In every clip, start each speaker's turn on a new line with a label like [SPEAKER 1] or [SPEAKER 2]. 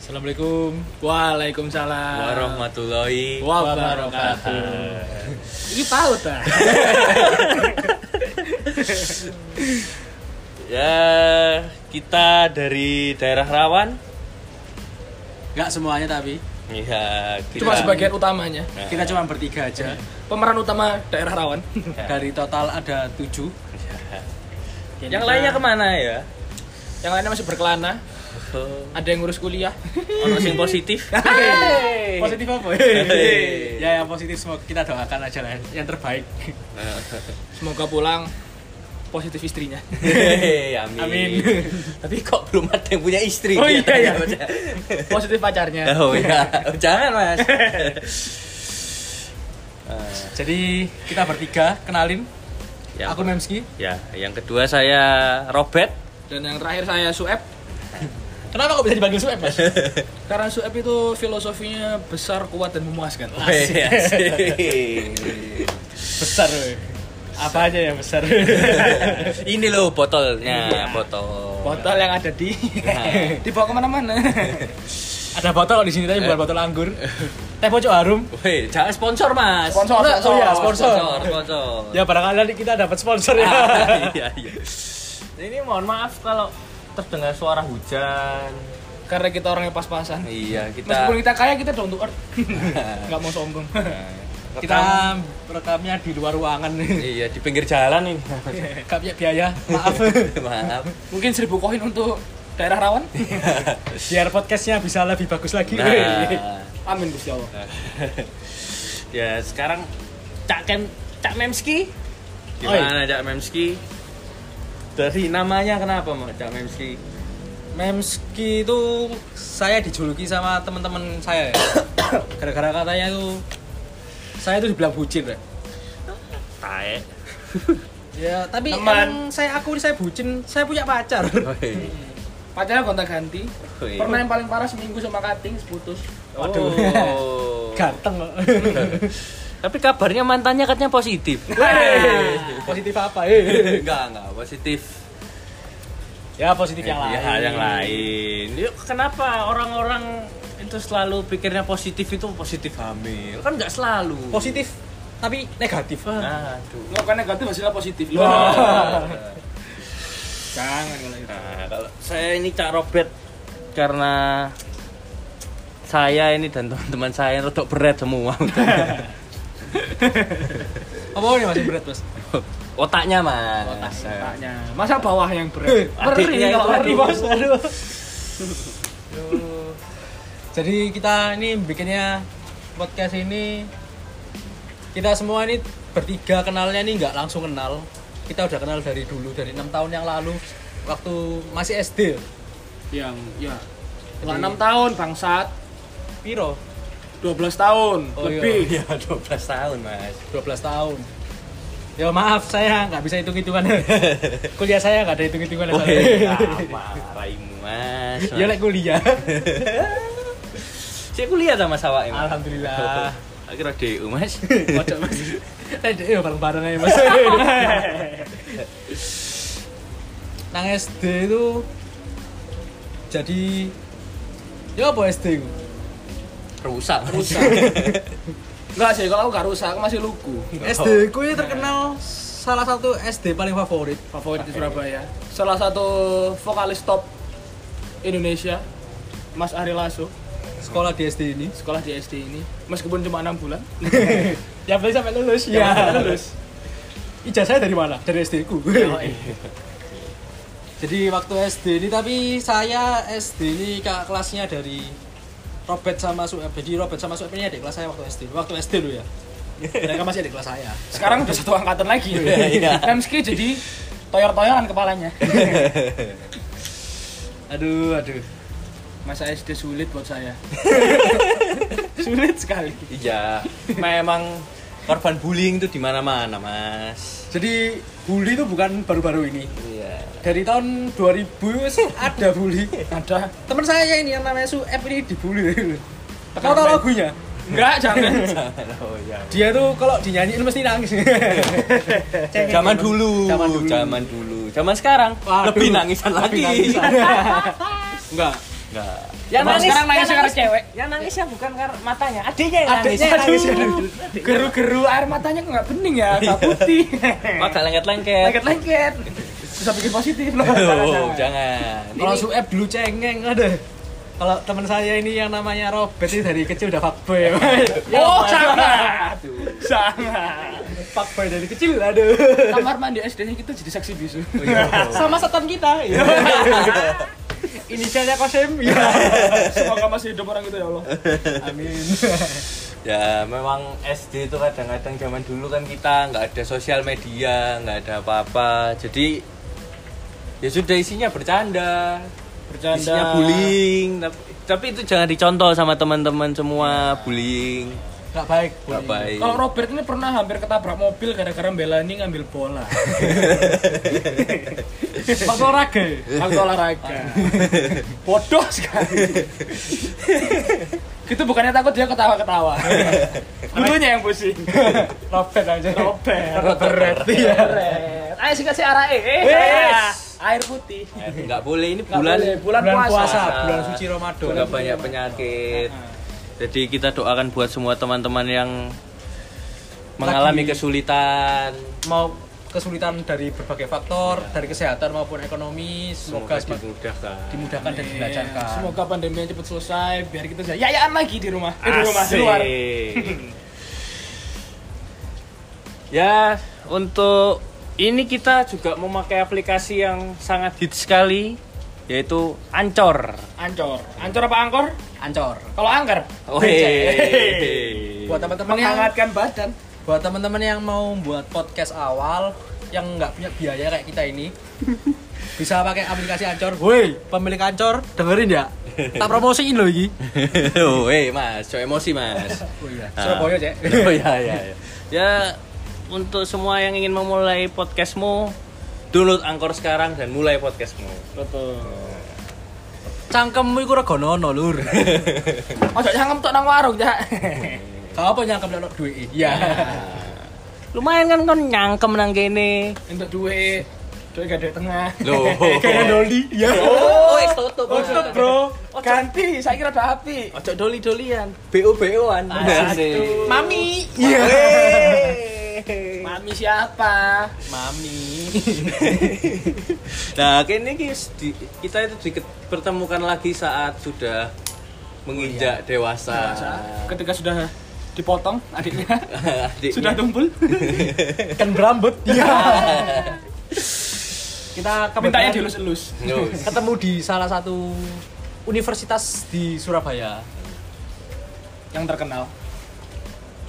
[SPEAKER 1] Assalamualaikum
[SPEAKER 2] Waalaikumsalam
[SPEAKER 3] Warahmatullahi
[SPEAKER 1] wabarakatuh. Ini paut ah.
[SPEAKER 3] Ya, kita dari daerah Rawan.
[SPEAKER 2] Gak semuanya tapi
[SPEAKER 3] Ya, kita
[SPEAKER 1] Cuma sebagian utamanya.
[SPEAKER 2] Kita cuma bertiga aja
[SPEAKER 1] Pemeran utama daerah Rawan.
[SPEAKER 2] Dari total ada tujuh
[SPEAKER 3] Iya. Yang lainnya kemana ya?
[SPEAKER 1] Yang lainnya masih berkelana. Ada yang ngurus kuliah.
[SPEAKER 3] Ono sing positif.
[SPEAKER 2] Positif apa?
[SPEAKER 3] Hei.
[SPEAKER 2] ya yang positif semua kita doakan aja lah Yang terbaik
[SPEAKER 1] Semoga pulang positif istrinya.
[SPEAKER 3] Hei, amin.
[SPEAKER 2] Amin.
[SPEAKER 3] Tapi kok belum ada yang punya istri?
[SPEAKER 1] Oh, iya, iya.
[SPEAKER 3] Udah.
[SPEAKER 1] Positif pacarnya.
[SPEAKER 3] Oh iya, jangan mas.
[SPEAKER 2] Jadi kita bertiga kenalin
[SPEAKER 3] Ya,
[SPEAKER 2] Aku Memski
[SPEAKER 3] ya, yang kedua saya Robert.
[SPEAKER 1] Dan yang terakhir saya Sueb.
[SPEAKER 2] Kenapa kok bisa dipanggil Sueb mas?
[SPEAKER 1] Karena Sueb itu filosofinya besar, kuat dan memuaskan.
[SPEAKER 3] Hei, asik.
[SPEAKER 2] besar woy. Apa aja yang besar?
[SPEAKER 3] Ini loh botolnya, botol.
[SPEAKER 1] Botol yang ada di
[SPEAKER 3] Nah. Eh.
[SPEAKER 1] dibawa kemana-mana.
[SPEAKER 2] ada botol di sini tapi bukan botol anggur Teh pojok harum
[SPEAKER 3] Woi, jangan sponsor mas.
[SPEAKER 1] Sponsor,
[SPEAKER 2] Enggak,
[SPEAKER 1] sponsor,
[SPEAKER 2] oh iya,
[SPEAKER 1] sponsor.
[SPEAKER 3] sponsor, sponsor.
[SPEAKER 2] Ya barangkali nanti kita dapat sponsor ya
[SPEAKER 3] Iya, iya.
[SPEAKER 4] Ini mohon maaf kalau terdengar suara hujan.
[SPEAKER 1] Karena kita orangnya pas-pasan.
[SPEAKER 3] Iya, kita
[SPEAKER 1] Meskipun kita kaya, kita down to earth. Nggak mau sombong.
[SPEAKER 3] Nah.
[SPEAKER 2] Kita
[SPEAKER 3] kita
[SPEAKER 2] rekamnya di luar ruangan
[SPEAKER 3] iya di pinggir jalan ini.
[SPEAKER 2] Gak punya biaya, maaf
[SPEAKER 3] Maaf.
[SPEAKER 1] Mungkin seribu koin untuk daerah rawan.
[SPEAKER 2] Iya. Biar podcastnya bisa lebih bagus lagi
[SPEAKER 3] Nah,
[SPEAKER 1] Amin Gusti Allah.
[SPEAKER 3] ya sekarang Cak Kem, Cak Memski.
[SPEAKER 2] Oi.
[SPEAKER 3] Gimana Cak Memski? Dari namanya kenapa Mak Cak Memski?
[SPEAKER 2] Memski itu saya dijuluki sama teman-teman saya ya. Gara-gara katanya itu saya itu dibilang bucin ya.
[SPEAKER 3] Tae.
[SPEAKER 2] Ya, tapi
[SPEAKER 1] Teman.
[SPEAKER 2] emang saya aku saya bucin, saya punya pacar.
[SPEAKER 1] Pacarnya kontak ganti.
[SPEAKER 3] Wih.
[SPEAKER 1] Pernah yang paling parah seminggu sama kating putus.
[SPEAKER 2] Waduh.
[SPEAKER 3] Oh.
[SPEAKER 2] Ganteng kok.
[SPEAKER 3] Tapi kabarnya mantannya katanya positif.
[SPEAKER 2] positif apa? eh?
[SPEAKER 3] enggak, enggak positif.
[SPEAKER 2] ya positif yang lain.
[SPEAKER 3] Ya, yang lain. Yuk, kenapa orang-orang itu selalu pikirnya positif itu positif hamil? Kan nggak selalu.
[SPEAKER 2] Positif tapi negatif.
[SPEAKER 3] Aduh.
[SPEAKER 1] Nggak kan negatif hasilnya positif.
[SPEAKER 2] Wah.
[SPEAKER 1] Jangan kalau itu.
[SPEAKER 3] Nah, kalau saya ini Cak Robert karena saya ini dan teman-teman saya ini rotok berat semua.
[SPEAKER 2] Apa ini masih berat, Mas?
[SPEAKER 3] Otaknya, Mas.
[SPEAKER 1] Otaknya. Masa bawah yang berat?
[SPEAKER 3] Adiknya itu, aduh.
[SPEAKER 2] Aduh. Jadi kita ini bikinnya podcast ini kita semua ini bertiga kenalnya ini nggak langsung kenal. Kita udah kenal dari dulu dari enam tahun yang lalu waktu masih SD.
[SPEAKER 1] Yang ya. Nggak enam tahun bangsat.
[SPEAKER 2] Piro?
[SPEAKER 1] 12 tahun
[SPEAKER 2] Oh, iya.
[SPEAKER 1] lebih.
[SPEAKER 3] Ya, 12 tahun, Mas.
[SPEAKER 2] 12 tahun. Ya maaf saya nggak bisa hitung-hitungan. kuliah saya nggak ada hitung-hitungan.
[SPEAKER 3] Woi, apa raimu, Mas?
[SPEAKER 2] Ya lek kuliah.
[SPEAKER 3] Saya kuliah sama sawak, Mas. Ah,
[SPEAKER 2] Alhamdulillah.
[SPEAKER 3] Akhirnya DU, Mas.
[SPEAKER 2] Kocok mas. Eh, deh, yuk bareng-bareng aja mas. Nang SD itu jadi ya apa SD itu?
[SPEAKER 3] Rusak, Mas.
[SPEAKER 1] Enggak sih, kalau aku nggak rusak, aku masih lugu.
[SPEAKER 2] SD ku ini terkenal salah satu SD paling favorit.
[SPEAKER 1] Favorit di Surabaya. Salah satu vokalis top Indonesia. Mas Ari Lasso
[SPEAKER 2] Sekolah di SD ini.
[SPEAKER 1] sekolah di SD ini meskipun cuma enam bulan
[SPEAKER 2] Ya beli sampai lulus
[SPEAKER 1] yang
[SPEAKER 2] ya.
[SPEAKER 1] lulus
[SPEAKER 2] Ijazahnya dari mana? Dari SD ku. Oh, iya. Jadi waktu SD ini tapi saya SD ini kak kelasnya dari Robert sama Sueb. Jadi Robert sama Sueb ini adik kelas saya waktu SD. Waktu SD dulu ya. Mereka masih adik kelas saya. Kan
[SPEAKER 1] sekarang udah satu angkatan lagi
[SPEAKER 3] Iya.
[SPEAKER 1] Memski jadi toyor-toyoran kepalanya
[SPEAKER 2] Aduh, aduh.
[SPEAKER 1] masa SD sulit buat saya sulit sekali
[SPEAKER 3] Iya, memang korban bullying itu di mana-mana, Mas.
[SPEAKER 2] Jadi bully itu bukan baru-baru ini.
[SPEAKER 3] Iya.
[SPEAKER 2] Dari tahun 2000 sih ada bully.
[SPEAKER 1] ada
[SPEAKER 2] Teman saya ini yang namanya Sueb ini dibully. Kau tahu lagunya?
[SPEAKER 1] enggak jangan
[SPEAKER 3] Oh iya.
[SPEAKER 2] Dia tuh kalau dinyanyiin mesti nangis.
[SPEAKER 3] Zaman dulu,
[SPEAKER 2] Zaman dulu.
[SPEAKER 3] zaman dulu. Zaman sekarang
[SPEAKER 2] Waduh.
[SPEAKER 3] lebih nangisan lagi.
[SPEAKER 2] Nangisan. Enggak.
[SPEAKER 3] Enggak.
[SPEAKER 5] Yang
[SPEAKER 1] Cuma
[SPEAKER 5] nangis,
[SPEAKER 1] sekarang
[SPEAKER 5] yang
[SPEAKER 1] nangisnya
[SPEAKER 5] nangis
[SPEAKER 1] karena
[SPEAKER 5] cewek. Yang nangisnya bukan karena matanya, adiknya yang nangis.
[SPEAKER 1] Adiknya nangis Geru-geru air matanya kok nggak bening ya, nggak putih.
[SPEAKER 5] Maka lengket-lengket.
[SPEAKER 1] Lengket-lengket. Bisa bikin positif loh.
[SPEAKER 2] Oh,
[SPEAKER 3] Jangan.
[SPEAKER 2] Kalau Sueb dulu cengeng ada. Kalau teman saya ini yang namanya Robert ini dari kecil udah fuckboy.
[SPEAKER 1] Oh, sangat. Sangat.
[SPEAKER 2] fuckboy dari kecil, aduh. Iya.
[SPEAKER 1] Kamar mandi SD-nya kita jadi seksi bisu.
[SPEAKER 5] Sama setan kita. ya.
[SPEAKER 2] Inisialnya Kosim. Ya.
[SPEAKER 1] Iya. Semoga masih hidup orang itu ya Allah.
[SPEAKER 2] Amin.
[SPEAKER 3] Ya memang SD itu kadang-kadang zaman dulu kan kita nggak ada sosial media, nggak ada apa-apa. Jadi ya sudah isinya bercanda,
[SPEAKER 1] Bercanda.
[SPEAKER 3] isinya bullying. Tapi, tapi itu jangan dicontoh sama teman-teman semua bullying.
[SPEAKER 2] Gak baik.
[SPEAKER 3] Nggak baik.
[SPEAKER 1] Kalau Robert ini pernah hampir ketabrak mobil gara-gara Bella ini ngambil bola.
[SPEAKER 2] Waktu olahraga.
[SPEAKER 1] Waktu olahraga. Bodoh sekali. itu bukannya takut dia ketawa-ketawa. Gurunya yang pusing.
[SPEAKER 2] Robert aja.
[SPEAKER 1] Robert.
[SPEAKER 2] Robert. Iya.
[SPEAKER 5] Ayo singkat si arae.
[SPEAKER 1] Wes, eh. air putih.
[SPEAKER 3] Eh, Nggak boleh ini
[SPEAKER 1] Nggak
[SPEAKER 3] bulan
[SPEAKER 1] boleh, bulan,
[SPEAKER 2] Bulan puasa,
[SPEAKER 1] puasa.
[SPEAKER 2] bulan suci Ramadan.
[SPEAKER 3] juga banyak penyakit. Jadi kita doakan buat semua teman-teman yang mengalami kesulitan.
[SPEAKER 2] Mau kesulitan dari berbagai faktor, dari kesehatan maupun ekonomi, semoga,
[SPEAKER 3] Semoga
[SPEAKER 1] gitu.
[SPEAKER 2] semak-
[SPEAKER 3] dimudahkan.
[SPEAKER 2] dimudahkan dan dilancarkan.
[SPEAKER 1] Iya. Semoga pandeminya cepat selesai biar kita bisa yayaan lagi di rumah. Eh, di rumah di
[SPEAKER 3] Asik.
[SPEAKER 1] luar.
[SPEAKER 3] ya, untuk ini kita juga memakai aplikasi yang sangat hits sekali yaitu Ancor.
[SPEAKER 1] Ancor. Ancor apa angkor?
[SPEAKER 2] Ancor.
[SPEAKER 1] Kalau angker,
[SPEAKER 3] Wih.
[SPEAKER 2] Buat teman-teman yang
[SPEAKER 1] menghangatkan badan.
[SPEAKER 2] buat teman-teman yang mau buat podcast awal yang nggak punya biaya kayak kita ini bisa pakai aplikasi Ancor. Woi, pemilik Ancor, dengerin ya. Tak promosiin loh iki.
[SPEAKER 3] Wih, Mas, cok emosi, Mas.
[SPEAKER 2] Oh iya.
[SPEAKER 3] Ah.
[SPEAKER 2] Surabaya, Cek.
[SPEAKER 3] Oh iya iya iya. Ya untuk semua yang ingin memulai podcastmu, download Angkor sekarang dan mulai podcastmu.
[SPEAKER 1] Betul.
[SPEAKER 2] Cangkemmu iku regonono, Lur.
[SPEAKER 1] Ojo nyangkem tok nang warung, Cak.
[SPEAKER 2] Kau apa nyangkem lek duwe? Iya.
[SPEAKER 3] Lumayan kan kan nyangkem nang kene.
[SPEAKER 1] Untuk duit. Duit gak duit tengah.
[SPEAKER 3] Loh.
[SPEAKER 1] Kayak doli. Ya.
[SPEAKER 5] Oh, wes tutup.
[SPEAKER 1] Otot, Bro. Ganti, saya kira ada api.
[SPEAKER 3] Ojo doli-dolian, BO-BOan.
[SPEAKER 1] Aduh.
[SPEAKER 5] Mami.
[SPEAKER 2] Iya.
[SPEAKER 1] Iya. Mami siapa?
[SPEAKER 2] Mami.
[SPEAKER 3] Nah, kene iki di- kita itu dipertemukan lagi saat sudah menginjak dewasa.
[SPEAKER 1] Ketika Oh, iya. sudah Iya. dipotong adiknya.
[SPEAKER 3] Adiknya.
[SPEAKER 1] Sudah tumpul.
[SPEAKER 2] Kan berambut. Iya. Kita
[SPEAKER 1] Mintanya
[SPEAKER 2] kebetulan
[SPEAKER 1] dielus-elus.
[SPEAKER 3] Loh.
[SPEAKER 2] ketemu di salah satu universitas di Surabaya.
[SPEAKER 1] Yang terkenal.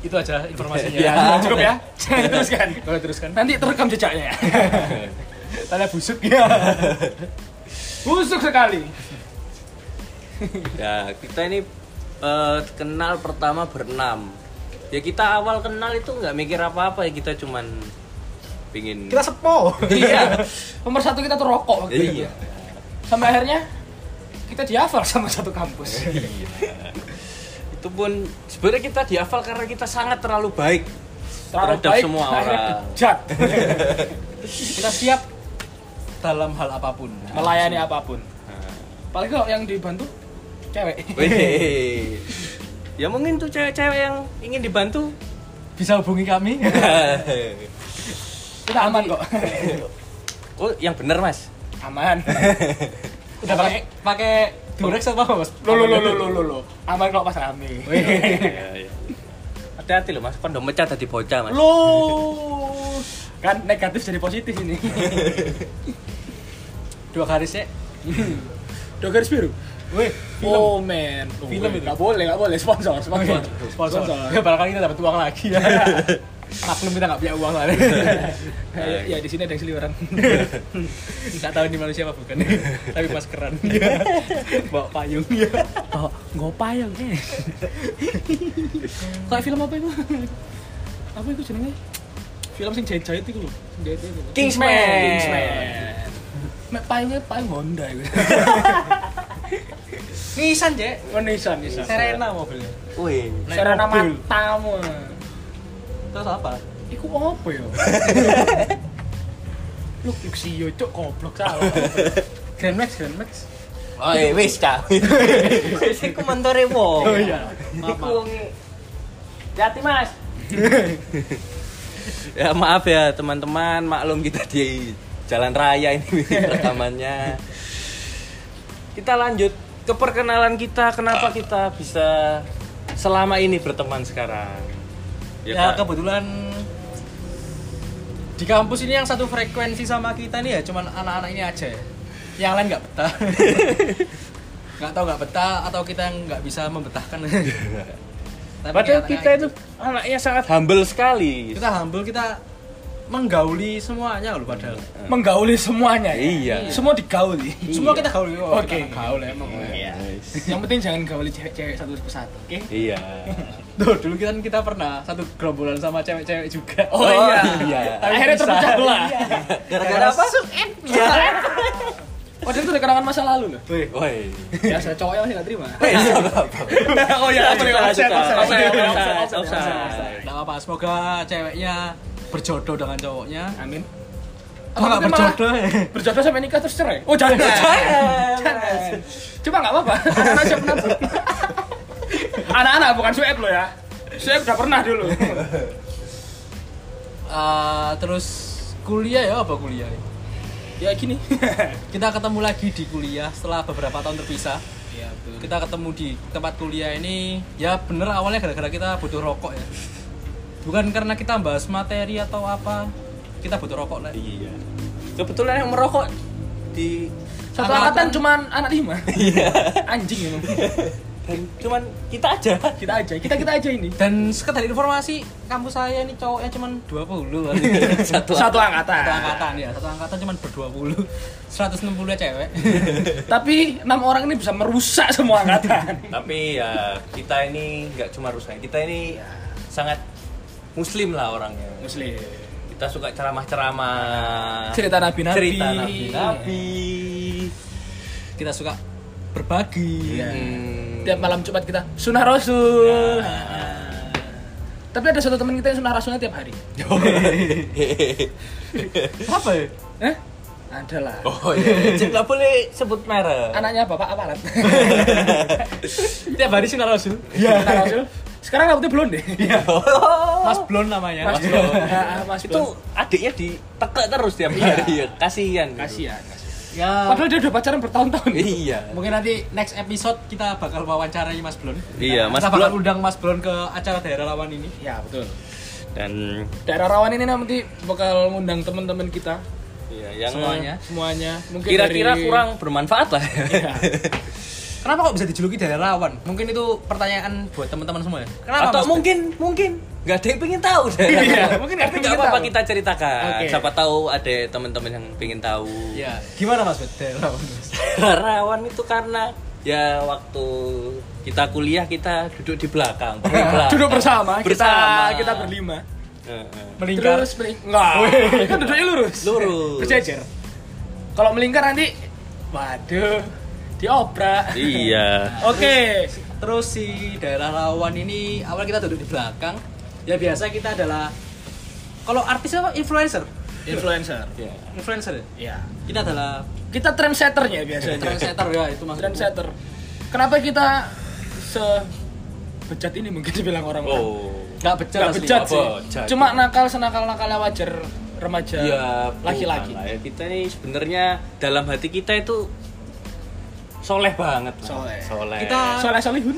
[SPEAKER 2] Itu aja informasinya.
[SPEAKER 1] Ya, cukup ya. Saya teruskan.
[SPEAKER 2] Boleh teruskan.
[SPEAKER 1] Nanti terekam jejaknya ya.
[SPEAKER 2] Tanda busuk ya.
[SPEAKER 1] Busuk sekali.
[SPEAKER 3] Ya, kita ini eh, kenal pertama berenam. Ya kita awal kenal itu nggak mikir apa-apa ya kita cuman pingin.
[SPEAKER 2] Kita sepo.
[SPEAKER 1] Iya. Pemersatu kita tuh rokok
[SPEAKER 3] Ya,
[SPEAKER 1] waktu itu.
[SPEAKER 3] iya.
[SPEAKER 1] Sampai akhirnya kita dihafal sama satu kampus.
[SPEAKER 3] Iya, Itu pun sebenarnya kita dihafal karena kita sangat terlalu baik
[SPEAKER 1] Terlalu
[SPEAKER 3] terhadap
[SPEAKER 1] baik,
[SPEAKER 3] semua
[SPEAKER 1] akhirnya
[SPEAKER 3] orang.
[SPEAKER 1] dijat.
[SPEAKER 2] Kita siap dalam hal apapun.
[SPEAKER 1] melayani apapun. Paling kalau yang dibantu cewek.
[SPEAKER 3] Wih. ya mungkin tuh cewek-cewek yang ingin dibantu.
[SPEAKER 2] Bisa hubungi kami.
[SPEAKER 1] Kita aman kok.
[SPEAKER 3] oh, yang bener mas.
[SPEAKER 1] Aman.
[SPEAKER 2] Udah pakai pakai Durex apa Mas?
[SPEAKER 1] Lo lo lo lo lo lo lo. Aman kalau pas rame.
[SPEAKER 3] Iya, Hati-hati loh mas, kondom mecah tadi bocah mas.
[SPEAKER 1] Lo kan negatif jadi positif ini.
[SPEAKER 2] Dua garisnya.
[SPEAKER 1] Dua garis biru.
[SPEAKER 2] Wih, film.
[SPEAKER 1] Oh man,
[SPEAKER 2] Film itu.
[SPEAKER 1] Gak boleh, gak boleh sponsor,
[SPEAKER 2] Oke,
[SPEAKER 1] sponsor,
[SPEAKER 2] sponsor. Ya barangkali kita dapat uang lagi ya. Maklum kita nggak punya uang lah.
[SPEAKER 1] Eh, Ya di sini ada yang seliweran.
[SPEAKER 2] Nggak tahu ini manusia apa bukan. Tapi pas keren. Bawa payung.
[SPEAKER 1] Oh, ngopayang eh. Kayak film apa itu? apa itu jenenge? Film sing jahit-jahit itu lho, sing jahit itu. lho.
[SPEAKER 2] Kingsman.
[SPEAKER 1] Mek payungnya payung Honda itu.
[SPEAKER 2] Nissan, Cek.
[SPEAKER 1] Oh, Nissan, Nissan.
[SPEAKER 2] Serena mobilnya.
[SPEAKER 3] Wih.
[SPEAKER 2] Naik
[SPEAKER 1] Serena
[SPEAKER 2] mobil.
[SPEAKER 1] matamu.
[SPEAKER 2] Terus apa?
[SPEAKER 1] Iku apa ya? Lu Luxio cok goblok salah. Grand Max, Grand Max.
[SPEAKER 3] Oh, eh, wis cah.
[SPEAKER 5] Iku mentore wong.
[SPEAKER 2] Oh iya.
[SPEAKER 5] Iku wonge. Hati Mas.
[SPEAKER 3] ya maaf ya teman-teman, maklum kita di jalan raya ini rekamannya. Kita lanjut ke perkenalan kita, kenapa kita bisa selama ini berteman sekarang. kan?
[SPEAKER 2] Ya,
[SPEAKER 3] Iya, Kak?
[SPEAKER 2] kebetulan di kampus ini yang satu frekuensi sama kita nih ya cuman anak-anak ini aja ya. Yang lain nggak betah. nggak tahu nggak betah atau kita yang nggak bisa membetahkan. Tapi
[SPEAKER 3] Padahal
[SPEAKER 2] nyatanya gitu.
[SPEAKER 3] kita itu anaknya sangat humble sekali.
[SPEAKER 2] kita humble kita menggauli semuanya loh padahal.
[SPEAKER 1] Menggauli semuanya. ya?
[SPEAKER 3] Iya.
[SPEAKER 1] Semua digauli.
[SPEAKER 2] Semua kita gauli. Oh,
[SPEAKER 1] Oke.
[SPEAKER 2] kita Gaul emang.
[SPEAKER 1] Yang penting jangan gauli cewek-cewek satu persatu, oke?
[SPEAKER 3] Iya.
[SPEAKER 2] Tuh, dulu kita kita pernah satu gerombolan sama cewek-cewek juga.
[SPEAKER 1] Oh, iya.
[SPEAKER 3] iya.
[SPEAKER 1] Akhirnya
[SPEAKER 2] bisa.
[SPEAKER 1] terpecah belah.
[SPEAKER 3] Gara-gara apa?
[SPEAKER 1] Padahal itu udah kenangan masa lalu loh.
[SPEAKER 2] Wih,
[SPEAKER 3] Woi.
[SPEAKER 1] Ya, saya cowoknya masih nggak terima.
[SPEAKER 3] Woi,
[SPEAKER 1] oh iya,
[SPEAKER 3] Offside, offside, offside, offside, offside.
[SPEAKER 2] nggak apa-apa. Semoga ceweknya berjodoh dengan cowoknya.
[SPEAKER 1] Amin.
[SPEAKER 2] Apa nggak
[SPEAKER 1] mungkin malah
[SPEAKER 2] berjodoh? ya?
[SPEAKER 1] Berjodoh sampai nikah terus cerai. Oh jangan. jangan. Cuma nggak apa-apa. Anak siap menabung. Anak-anak bukan sueb lo ya. Sueb udah pernah dulu.
[SPEAKER 2] Eh, terus kuliah ya apa kuliah? ya?
[SPEAKER 1] ya gini.
[SPEAKER 2] Kita ketemu lagi di kuliah setelah beberapa tahun terpisah.
[SPEAKER 1] Iya betul.
[SPEAKER 2] Kita ketemu di tempat kuliah ini. Ya bener awalnya gara-gara kita butuh rokok ya. Bukan karena kita bahas materi atau apa. Kita butuh rokok lah.
[SPEAKER 3] Iya. Kebetulan yang merokok di
[SPEAKER 2] Angkatan-
[SPEAKER 1] Satu
[SPEAKER 2] Iya.
[SPEAKER 1] angkatan cuman anak lima. Anjing emang.
[SPEAKER 3] dan cuman kita aja.
[SPEAKER 1] Kita aja, kita kita aja ini.
[SPEAKER 2] Dan sekedar informasi, kampus saya ini cowoknya cuman 20 kali.
[SPEAKER 3] Satu.
[SPEAKER 1] Satu angkatan.
[SPEAKER 2] satu angkatan ya, satu angkatan cuman ber-20. 160 ya cewek.
[SPEAKER 1] Tapi enam orang ini bisa merusak semua angkatan.
[SPEAKER 3] Tapi ya kita ini nggak cuma rusak. Kita ini sangat muslim lah orangnya.
[SPEAKER 1] Muslim.
[SPEAKER 3] Kita suka ceramah-ceramah.
[SPEAKER 1] Cerita nabi-nabi.
[SPEAKER 3] Cerita nabi-nabi.
[SPEAKER 2] Kita suka
[SPEAKER 1] Iya.
[SPEAKER 2] berbagi.
[SPEAKER 3] Hmm.
[SPEAKER 1] Tiap malam Jumat kita sunnah rasul.
[SPEAKER 2] Iya.
[SPEAKER 3] Nah.
[SPEAKER 1] Tapi ada satu teman kita yang sunnah rasulnya tiap hari.
[SPEAKER 2] Apa ya?
[SPEAKER 1] Eh? Ada lah.
[SPEAKER 3] Oh iya, Cik, nggak boleh sebut merek.
[SPEAKER 1] Anaknya bapak aparat.
[SPEAKER 2] Tiap hari sinar rasul.
[SPEAKER 1] Iya. rasul. Sekarang rambutnya blonde.
[SPEAKER 2] Mas Blon namanya. Iya.
[SPEAKER 1] Mas Blon. Ah, Mas
[SPEAKER 3] Oh. itu
[SPEAKER 1] Blon.
[SPEAKER 3] adiknya ditekek terus tiap hari ya. Kasihan. gitu.
[SPEAKER 1] Kasihan.
[SPEAKER 2] Ya,
[SPEAKER 1] Padahal dia udah pacaran bertahun-tahun.
[SPEAKER 3] Iya.
[SPEAKER 2] mungkin nanti next episode kita bakal wawancarai Mas Blon.
[SPEAKER 3] Iya, Mas
[SPEAKER 2] kita bakal
[SPEAKER 3] Blon.
[SPEAKER 2] undang Mas Blon ke acara daerah lawan ini.
[SPEAKER 1] Ya betul.
[SPEAKER 3] Dan
[SPEAKER 1] Daerah rawan ini nanti bakal ngundang teman-teman kita
[SPEAKER 3] ya, yang
[SPEAKER 2] Semuanya.
[SPEAKER 1] semuanya. Mungkin
[SPEAKER 3] kira-kira
[SPEAKER 1] dari- Iya.
[SPEAKER 3] kurang bermanfaat lah.
[SPEAKER 2] Kenapa kok bisa dijuluki daerah lawan? Mungkin itu pertanyaan buat teman-teman semua ya. Kenapa
[SPEAKER 3] Atau
[SPEAKER 2] Mas Blon?
[SPEAKER 3] mungkin mungkin nggak ada yang pengen tahu deh.
[SPEAKER 1] Iya,
[SPEAKER 3] Tapi
[SPEAKER 1] mungkin nggak ada yang
[SPEAKER 3] nggak
[SPEAKER 1] pengen
[SPEAKER 3] apa-apa
[SPEAKER 1] tahu.
[SPEAKER 3] kita ceritakan.
[SPEAKER 1] Oke. Iya.
[SPEAKER 3] Siapa tahu ada teman-teman yang pengen tahu.
[SPEAKER 2] Ya, gimana Mas Blon? Daerah lawan. Mas?
[SPEAKER 3] Rawan itu karena ya waktu kita kuliah kita duduk di belakang, paling belakang.
[SPEAKER 1] Duduk bersama,
[SPEAKER 3] Bersama.
[SPEAKER 1] kita kita berlima.
[SPEAKER 3] Heeh.
[SPEAKER 2] Melingkar.
[SPEAKER 1] Terus melingkar. Enggak. Kan duduknya lurus.
[SPEAKER 3] Lurus.
[SPEAKER 1] Berjejer. Kalau melingkar nanti waduh dioprak.
[SPEAKER 3] Iya.
[SPEAKER 1] Oke.
[SPEAKER 2] Terus si daerah lawan ini awal kita duduk di belakang. Ya biasa kita adalah kalau artis apa influencer?
[SPEAKER 1] Influencer.
[SPEAKER 3] Ya.
[SPEAKER 2] Influencer. ya?
[SPEAKER 1] Iya.
[SPEAKER 2] Kita adalah
[SPEAKER 1] Kita trendsetternya biasanya.
[SPEAKER 2] trendsetter ya itu maksudnya.
[SPEAKER 1] trendsetter. Kenapa kita se bejat ini mungkin dibilang orang orang
[SPEAKER 3] Oh.
[SPEAKER 2] Enggak becet
[SPEAKER 1] nggak
[SPEAKER 2] asli.
[SPEAKER 1] bejat
[SPEAKER 3] nggak
[SPEAKER 1] sih
[SPEAKER 3] bejat.
[SPEAKER 1] cuma nakal senakal nakalnya wajar remaja
[SPEAKER 3] Iya,
[SPEAKER 1] laki-laki
[SPEAKER 3] bukan lah ya. Kita ini sebenarnya dalam hati kita itu soleh banget. Mas.
[SPEAKER 1] Soleh.
[SPEAKER 3] Soleh.
[SPEAKER 2] Kita-
[SPEAKER 1] soleh solihun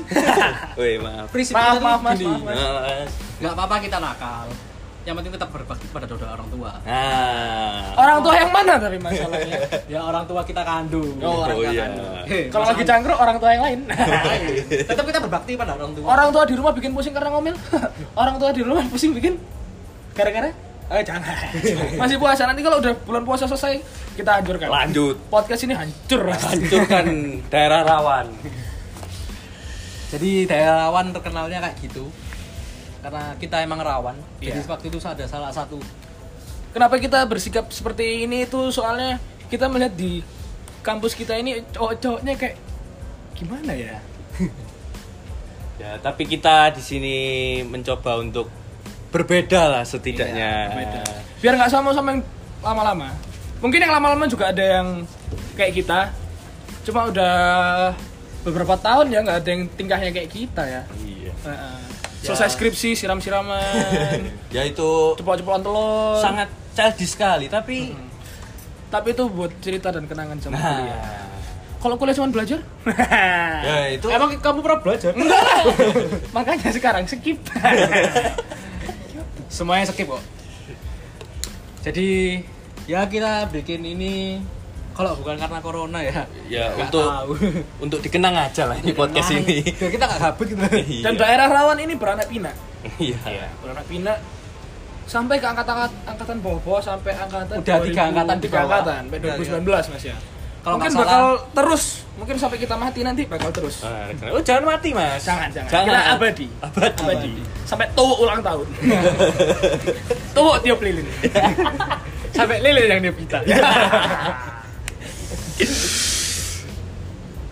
[SPEAKER 3] Woi, maaf.
[SPEAKER 2] Prinsip
[SPEAKER 1] Maaf,
[SPEAKER 2] kita tuh
[SPEAKER 1] maaf, Mas,
[SPEAKER 2] gini.
[SPEAKER 1] maaf, Mas.
[SPEAKER 3] Nah,
[SPEAKER 2] Nggak apa-apa kita nakal. Yang penting tetap berbakti pada doa orang tua.
[SPEAKER 3] Nah.
[SPEAKER 1] orang tua yang mana tapi masalahnya
[SPEAKER 2] Ya orang tua kita kandung.
[SPEAKER 1] Eh. Oh,
[SPEAKER 3] Oh,
[SPEAKER 1] orang tua
[SPEAKER 3] iya.
[SPEAKER 1] kandung.
[SPEAKER 2] Hei,
[SPEAKER 1] kalau lagi
[SPEAKER 2] masalah-
[SPEAKER 1] cangkruk orang tua yang lain
[SPEAKER 2] tetap kita berbakti pada orang tua.
[SPEAKER 1] orang tua di rumah bikin pusing karena ngomel orang tua di rumah pusing bikin gara-gara eh jangan masih puasa nanti kalau udah bulan puasa selesai kita hancurkan
[SPEAKER 3] Lanjut.
[SPEAKER 1] podcast ini hancur pasti.
[SPEAKER 3] Hancurkan daerah rawan.
[SPEAKER 2] Jadi daerah rawan terkenalnya kayak gitu. Karena kita emang rawan. Jadi
[SPEAKER 1] Iya.
[SPEAKER 2] waktu itu ada salah satu
[SPEAKER 1] kenapa kita bersikap seperti ini itu soalnya kita melihat di kampus kita ini cowok-cowoknya kayak gimana ya?
[SPEAKER 3] Ya, tapi kita di sini mencoba untuk berbeda lah setidaknya.
[SPEAKER 1] Biar nggak sama sama yang lama-lama. Mungkin yang lama-lama juga ada yang kayak kita cuma udah beberapa tahun ya nggak ada yang tingkahnya kayak kita ya.
[SPEAKER 3] Iya.
[SPEAKER 1] Heeh.
[SPEAKER 2] Ya.
[SPEAKER 1] Selesai skripsi siram-siraman,
[SPEAKER 3] Ya itu
[SPEAKER 1] cepol-cepolan telur.
[SPEAKER 3] sangat childish sekali tapi
[SPEAKER 1] Tapi itu buat cerita dan kenangan sama kuliah.
[SPEAKER 3] nah,
[SPEAKER 1] Kalau kuliah cuma belajar?
[SPEAKER 3] ya itu
[SPEAKER 2] Emang kamu pernah belajar?
[SPEAKER 1] Makanya sekarang skip.
[SPEAKER 2] Iya. Semuanya skip kok. Jadi ya kita bikin ini kalau bukan karena corona ya.
[SPEAKER 3] ya
[SPEAKER 2] nggak
[SPEAKER 3] untuk
[SPEAKER 2] tahu.
[SPEAKER 3] untuk dikenang aja lah ini podcast
[SPEAKER 2] Nah,
[SPEAKER 3] ini.
[SPEAKER 2] biar kita nggak kabut gitu.
[SPEAKER 1] dan E, daerah rawan ini beranak pinak.
[SPEAKER 3] Iya.
[SPEAKER 1] beranak pinak sampai ke angkatan angkatan bawah-bawah sampai angkatan
[SPEAKER 2] Udah tiga
[SPEAKER 1] 2000,
[SPEAKER 2] angkatan di
[SPEAKER 1] tiga
[SPEAKER 2] bawah. Iya,
[SPEAKER 1] angkatan sampai 2019 Mas ya.
[SPEAKER 2] Kalau
[SPEAKER 1] mungkin
[SPEAKER 2] nggak salah- Iya.
[SPEAKER 1] bakal terus, mungkin sampai kita mati nanti bakal terus.
[SPEAKER 3] Nah, Oh, jangan mati, Mas.
[SPEAKER 1] Jangan, jangan.
[SPEAKER 3] Jangan.
[SPEAKER 1] Kita abadi.
[SPEAKER 3] Abadi.
[SPEAKER 1] Sampai tua ulang tahun. tua tiup lilin. sampai lilin yang dia pita.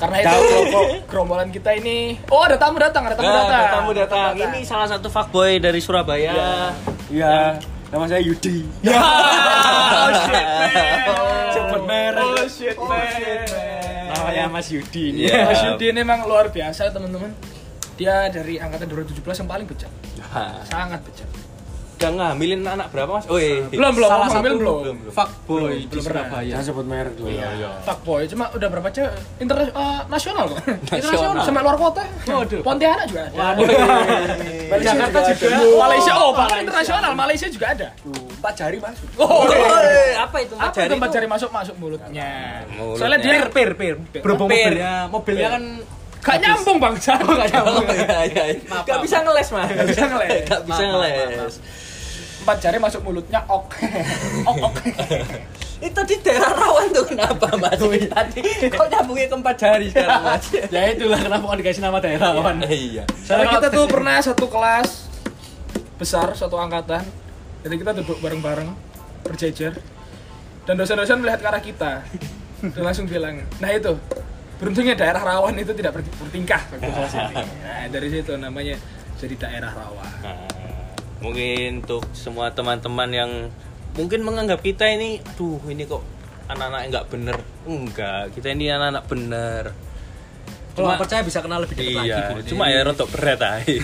[SPEAKER 1] Karena itu kelompok gerombolan kita ini. Oh, ada tamu datang, ada tamu
[SPEAKER 3] Nah,
[SPEAKER 1] datang.
[SPEAKER 3] ada tamu datang. Ini salah satu fuckboy dari Surabaya. Ya.
[SPEAKER 4] Iya, nama saya Yudi.
[SPEAKER 1] Oh shit, man.
[SPEAKER 4] Cepet merah.
[SPEAKER 1] Oh shit, man.
[SPEAKER 4] Namanya Mas Yudi ini.
[SPEAKER 3] Iya.
[SPEAKER 1] Mas Yudi ini memang luar biasa teman-teman. Dia dari angkatan 2017 yang paling bejat,
[SPEAKER 3] Nah,
[SPEAKER 1] sangat bejat.
[SPEAKER 3] Udah ngambilin anak berapa, Mas? Oh, iya.
[SPEAKER 1] Belum belum,
[SPEAKER 2] Salah
[SPEAKER 1] ngomong
[SPEAKER 2] satu
[SPEAKER 1] ambil belum.
[SPEAKER 2] fuckboy di
[SPEAKER 1] belum pernah.
[SPEAKER 2] Surabaya.
[SPEAKER 4] Jangan sebut merek dulu. Iya.
[SPEAKER 1] Fuckboy, cuma udah berapa cewek
[SPEAKER 2] eh,
[SPEAKER 1] internasional nasional kok. Internasional
[SPEAKER 3] Nasional.
[SPEAKER 1] sampai luar kota. Pontianak juga ada.
[SPEAKER 3] Oh, iya,
[SPEAKER 1] Malaysia Jakarta juga. ada. Malaysia oh, bahkan internasional Malaysia juga ada. Empat jari masuk. Oh,
[SPEAKER 5] apa itu
[SPEAKER 1] apa itu empat jari masuk masuk mulutnya.
[SPEAKER 3] Mulutnya.
[SPEAKER 1] Soalnya dia
[SPEAKER 2] Pir, pir. Berhubung
[SPEAKER 3] Pir.
[SPEAKER 2] mobilnya,
[SPEAKER 1] ya.
[SPEAKER 2] mobilnya kan
[SPEAKER 1] gak nyambung bangsa. Gak
[SPEAKER 3] Oh, iya, iya. Nggak bisa ngeles, Mas. Nggak
[SPEAKER 1] bisa ngeles.
[SPEAKER 3] Nggak bisa
[SPEAKER 2] Maaf, maaf,
[SPEAKER 3] ngeles.
[SPEAKER 1] Empat jari masuk mulutnya ok. ok ok.
[SPEAKER 3] Itu di daerah rawan tuh iya. kenapa, Mas? Tadi kok nyambungnya ke empat jari sekarang, Mas?
[SPEAKER 2] ya itulah kenapa kok dikasih nama daerah kawan.
[SPEAKER 3] Iya.
[SPEAKER 1] Soalnya kita tuh pernah satu kelas besar, satu angkatan. Jadi kita duduk bareng-bareng, berjejer. Dan dosen-dosen melihat ke arah kita. Dan langsung bilang, nah itu, beruntungnya daerah rawan itu tidak ber- bertingkah. waktu kelas ini." Nah, dari situ namanya jadi daerah rawan.
[SPEAKER 3] Nah, mungkin untuk semua teman-teman yang mungkin menganggap kita ini duh ini kok anak-anak nggak bener enggak kita ini anak-anak bener
[SPEAKER 2] Kalau
[SPEAKER 3] Cuma-
[SPEAKER 2] nggak percaya bisa kenal lebih dekat lagi.
[SPEAKER 3] iya
[SPEAKER 2] Bu.
[SPEAKER 3] cuma ya rontok berat ay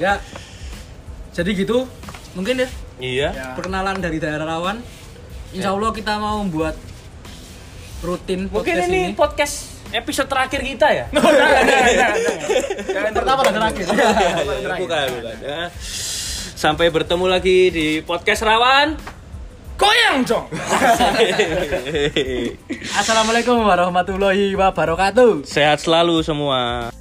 [SPEAKER 2] Ya. Jadi gitu. Mungkin ya
[SPEAKER 3] iya
[SPEAKER 1] Ya.
[SPEAKER 2] perkenalan dari daerah Rawan. Insya Allah kita mau membuat rutin
[SPEAKER 3] mungkin
[SPEAKER 2] podcast
[SPEAKER 3] ini
[SPEAKER 2] ini.
[SPEAKER 3] podcast episode terakhir kita ya
[SPEAKER 1] Jangan, jangan, jangan, jangan. Jangan
[SPEAKER 2] pertama dan terakhir.
[SPEAKER 3] bukan bukan ya. sampai bertemu lagi di podcast rawan
[SPEAKER 1] Goyang, Jong!
[SPEAKER 2] Assalamualaikum warahmatullahi wabarakatuh.
[SPEAKER 3] sehat selalu semua